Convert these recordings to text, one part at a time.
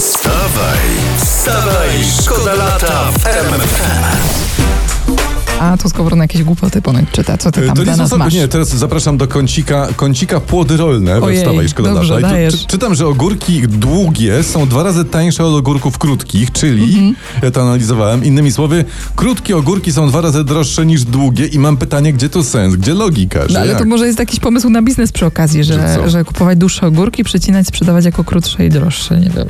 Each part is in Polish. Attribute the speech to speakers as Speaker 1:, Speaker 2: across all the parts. Speaker 1: Wstawaj, wstawaj, szkoda lata w MFM.
Speaker 2: A tu skowron jakieś głupoty ponoć czyta. Co ty tam
Speaker 3: E, To
Speaker 2: dla
Speaker 3: nie są
Speaker 2: nas
Speaker 3: sobie,
Speaker 2: masz?
Speaker 3: nie, teraz zapraszam do kącika, kącika płody rolne we
Speaker 2: Ojej,
Speaker 3: Wstawaj Szkoda
Speaker 2: dobrze,
Speaker 3: Lata. I tu,
Speaker 2: dajesz.
Speaker 3: czy, czytam, że ogórki długie są dwa razy tańsze od ogórków krótkich, czyli,
Speaker 2: Mhm.
Speaker 3: ja to analizowałem, innymi słowy, krótkie ogórki są dwa razy droższe niż długie i mam pytanie, gdzie tu sens, gdzie logika, że
Speaker 2: No, ale
Speaker 3: jak?
Speaker 2: to może jest jakiś pomysł na biznes przy okazji,
Speaker 3: Że
Speaker 2: że,
Speaker 3: co?
Speaker 2: że kupować dłuższe ogórki, przecinać, sprzedawać jako krótsze i droższe. Nie wiem.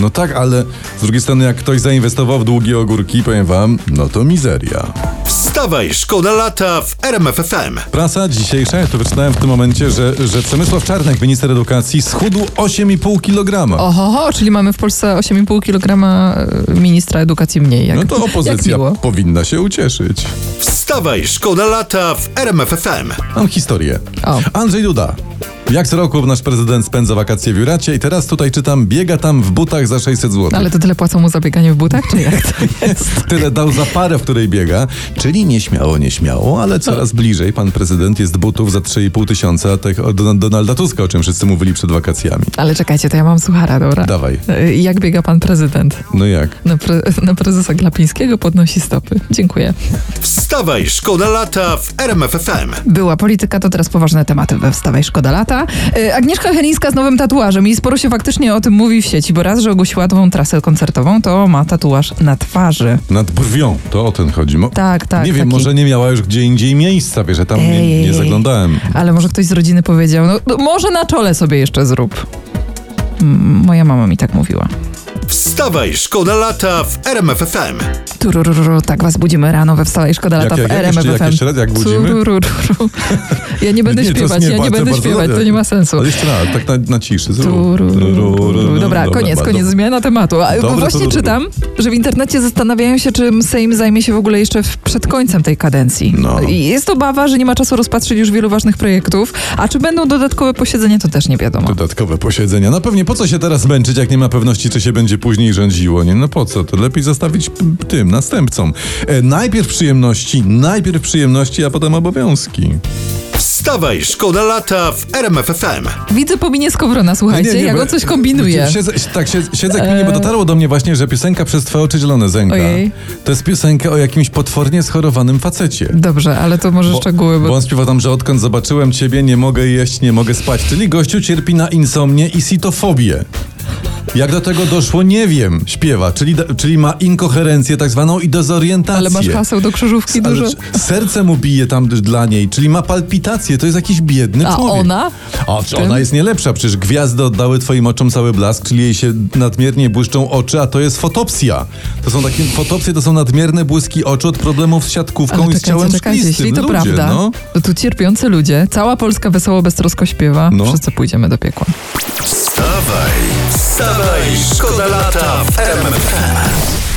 Speaker 3: No tak, ale z drugiej strony, jak ktoś zainwestował w długie ogórki, powiem wam, no to mizeria.
Speaker 1: Wstawaj, szkoda lata w RMFFM.
Speaker 3: Prasa dzisiejsza, ja to wyczytałem w tym momencie, że, że Przemysław Czarnek, minister edukacji, schudł 8,5 kg.
Speaker 2: Oho, czyli mamy w Polsce 8,5 kg e, ministra edukacji mniej. Tak. Jak,
Speaker 3: No to
Speaker 2: Jak
Speaker 3: opozycja
Speaker 2: miło.
Speaker 3: powinna się ucieszyć.
Speaker 1: Wstawaj, szkoda lata w RMFFM.
Speaker 3: Mam historię.
Speaker 2: O.
Speaker 3: Andrzej Duda. Jak co roku nasz prezydent spędza wakacje w Juracie i teraz tutaj czytam, biega tam w butach za 600 zł.
Speaker 2: No, Ale to tyle płacą mu za bieganie w butach, czy jak to jest?
Speaker 3: Tyle dał za parę, w której biega, czyli nieśmiało, nieśmiało,
Speaker 2: No.
Speaker 3: ale coraz bliżej pan prezydent jest butów za 3,5 tysiąca tych od Don- Donalda Tuska, o czym wszyscy mówili przed wakacjami.
Speaker 2: Ale czekajcie, to ja mam suchara, dobra.
Speaker 3: Dawaj.
Speaker 2: Y, Jak biega pan prezydent?
Speaker 3: No jak?
Speaker 2: Na, pre- na prezesa Glapińskiego podnosi stopy. Dziękuję.
Speaker 1: Wstawaj, szkoda lata w RMFFM.
Speaker 2: Była polityka, to teraz poważne tematy we Wstawaj Szkoda Lata. E, Agnieszka Helińska z nowym tatuażem i sporo się faktycznie o tym mówi w sieci, bo raz, że ogłosiła nową trasę koncertową, to ma tatuaż na twarzy.
Speaker 3: Nad brwią, to o ten chodzi. Mo-
Speaker 2: Tak, tak,
Speaker 3: Nie wiem,
Speaker 2: taki-
Speaker 3: może nie miała już gdzie indziej miejsca, wiesz, że tam nie, nie
Speaker 2: Ej.
Speaker 3: zaglądałem.
Speaker 2: Ale może ktoś z rodziny powiedział, no no, może na czole sobie jeszcze zrób. Mm, Moja mama mi tak mówiła.
Speaker 1: Wstawaj, szkoda lata w RMFFM.
Speaker 2: Turururu, tak was budzimy rano we Wstawaj Szkoda Lata
Speaker 3: Jak-
Speaker 2: w
Speaker 3: jak- jak
Speaker 2: RMF
Speaker 3: jeszcze- jak
Speaker 2: FM.
Speaker 3: jeszcze raz, jak budzimy?
Speaker 2: Turururu. Ja nie będę
Speaker 3: Nie, to jest
Speaker 2: śpiewać, ja nie
Speaker 3: bardzo-
Speaker 2: będę
Speaker 3: bardzo
Speaker 2: śpiewać,
Speaker 3: dobre.
Speaker 2: to nie ma sensu.
Speaker 3: Ale jeszcze raz, tak na, na ciszy. zrób.
Speaker 2: Turururu. Dobra, koniec,
Speaker 3: bardzo-
Speaker 2: koniec, zmiana tematu. A
Speaker 3: Dobra,
Speaker 2: Właśnie
Speaker 3: turururu.
Speaker 2: czytam, że w internecie zastanawiają się, czym Sejm zajmie się w ogóle jeszcze w- przed końcem tej kadencji.
Speaker 3: No.
Speaker 2: I Jest obawa, że nie ma czasu rozpatrzyć już wielu ważnych projektów, a czy będą dodatkowe posiedzenia, to też nie wiadomo.
Speaker 3: Dodatkowe posiedzenia. No pewnie po co się teraz męczyć, jak nie ma pewności, czy się będzie później rządziło, nie? No po co? To lepiej zostawić p- tym, następcom. E, najpierw przyjemności, najpierw przyjemności, a potem obowiązki. No
Speaker 1: Wstawaj, szkoda lata w RMFFM.
Speaker 2: Widzę po minie Skowrona, słuchajcie, jak
Speaker 3: bo-
Speaker 2: on coś kombinuje.
Speaker 3: Siedzę, tak, siedzę, siedzę kminie, bo dotarło do mnie właśnie, że piosenka przez twoje oczy zielone zęka.
Speaker 2: Ojej.
Speaker 3: To jest piosenka o jakimś potwornie schorowanym facecie.
Speaker 2: Dobrze, ale to może szczegóły, bo...
Speaker 3: on śpiewa tam, że odkąd zobaczyłem ciebie, nie mogę jeść, nie mogę spać. Czyli gościu cierpi na insomnię i sitofobię. Jak do tego doszło, nie wiem, śpiewa, czyli, da- czyli ma inkoherencję tak zwaną i dezorientację.
Speaker 2: Ale masz haseł do krzyżówki
Speaker 3: Ale
Speaker 2: dużo.
Speaker 3: c- serce mu bije tam d- dla niej, czyli ma palpitacje, to jest jakiś biedny
Speaker 2: A
Speaker 3: człowiek.
Speaker 2: ona?
Speaker 3: A czy
Speaker 2: Tym?
Speaker 3: ona jest nie lepsza, przecież gwiazdy oddały twoim oczom cały blask, czyli jej się nadmiernie błyszczą oczy, a to jest fotopsja. To są takie, fotopsje to są nadmierne błyski oczu od problemów z siatkówką i z ciałem szklistym.
Speaker 2: jeśli to
Speaker 3: Ludzie,
Speaker 2: prawda,
Speaker 3: No.
Speaker 2: to tu cierpiący ludzie, cała Polska wesoło, beztrosko śpiewa,
Speaker 3: No.
Speaker 2: wszyscy pójdziemy do piekła.
Speaker 1: Wstawaj, wstawaj, szkoda lata w RMFFM.